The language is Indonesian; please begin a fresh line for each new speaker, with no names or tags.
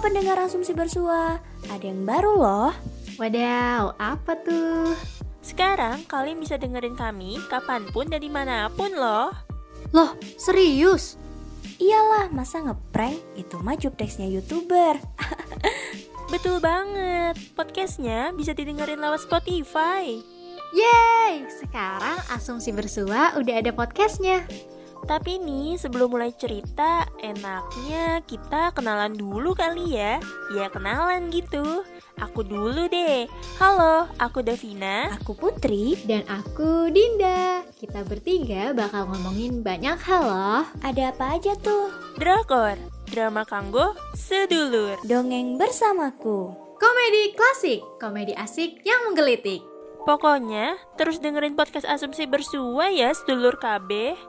pendengar Asumsi Bersua, ada yang baru loh.
Wadaw, apa tuh?
Sekarang kalian bisa dengerin kami kapanpun dan dimanapun loh.
Loh, serius?
Iyalah, masa ngeprank? Itu mah jobdesknya YouTuber.
Betul banget, podcastnya bisa didengerin lewat Spotify.
Yeay, sekarang Asumsi Bersua udah ada podcastnya.
Tapi nih sebelum mulai cerita enaknya kita kenalan dulu kali ya Ya kenalan gitu Aku dulu deh Halo aku Davina
Aku Putri
Dan aku Dinda Kita bertiga bakal ngomongin banyak hal loh
Ada apa aja tuh?
Drakor Drama Kanggo Sedulur
Dongeng bersamaku
Komedi klasik Komedi asik yang menggelitik
Pokoknya terus dengerin podcast Asumsi Bersua ya sedulur KB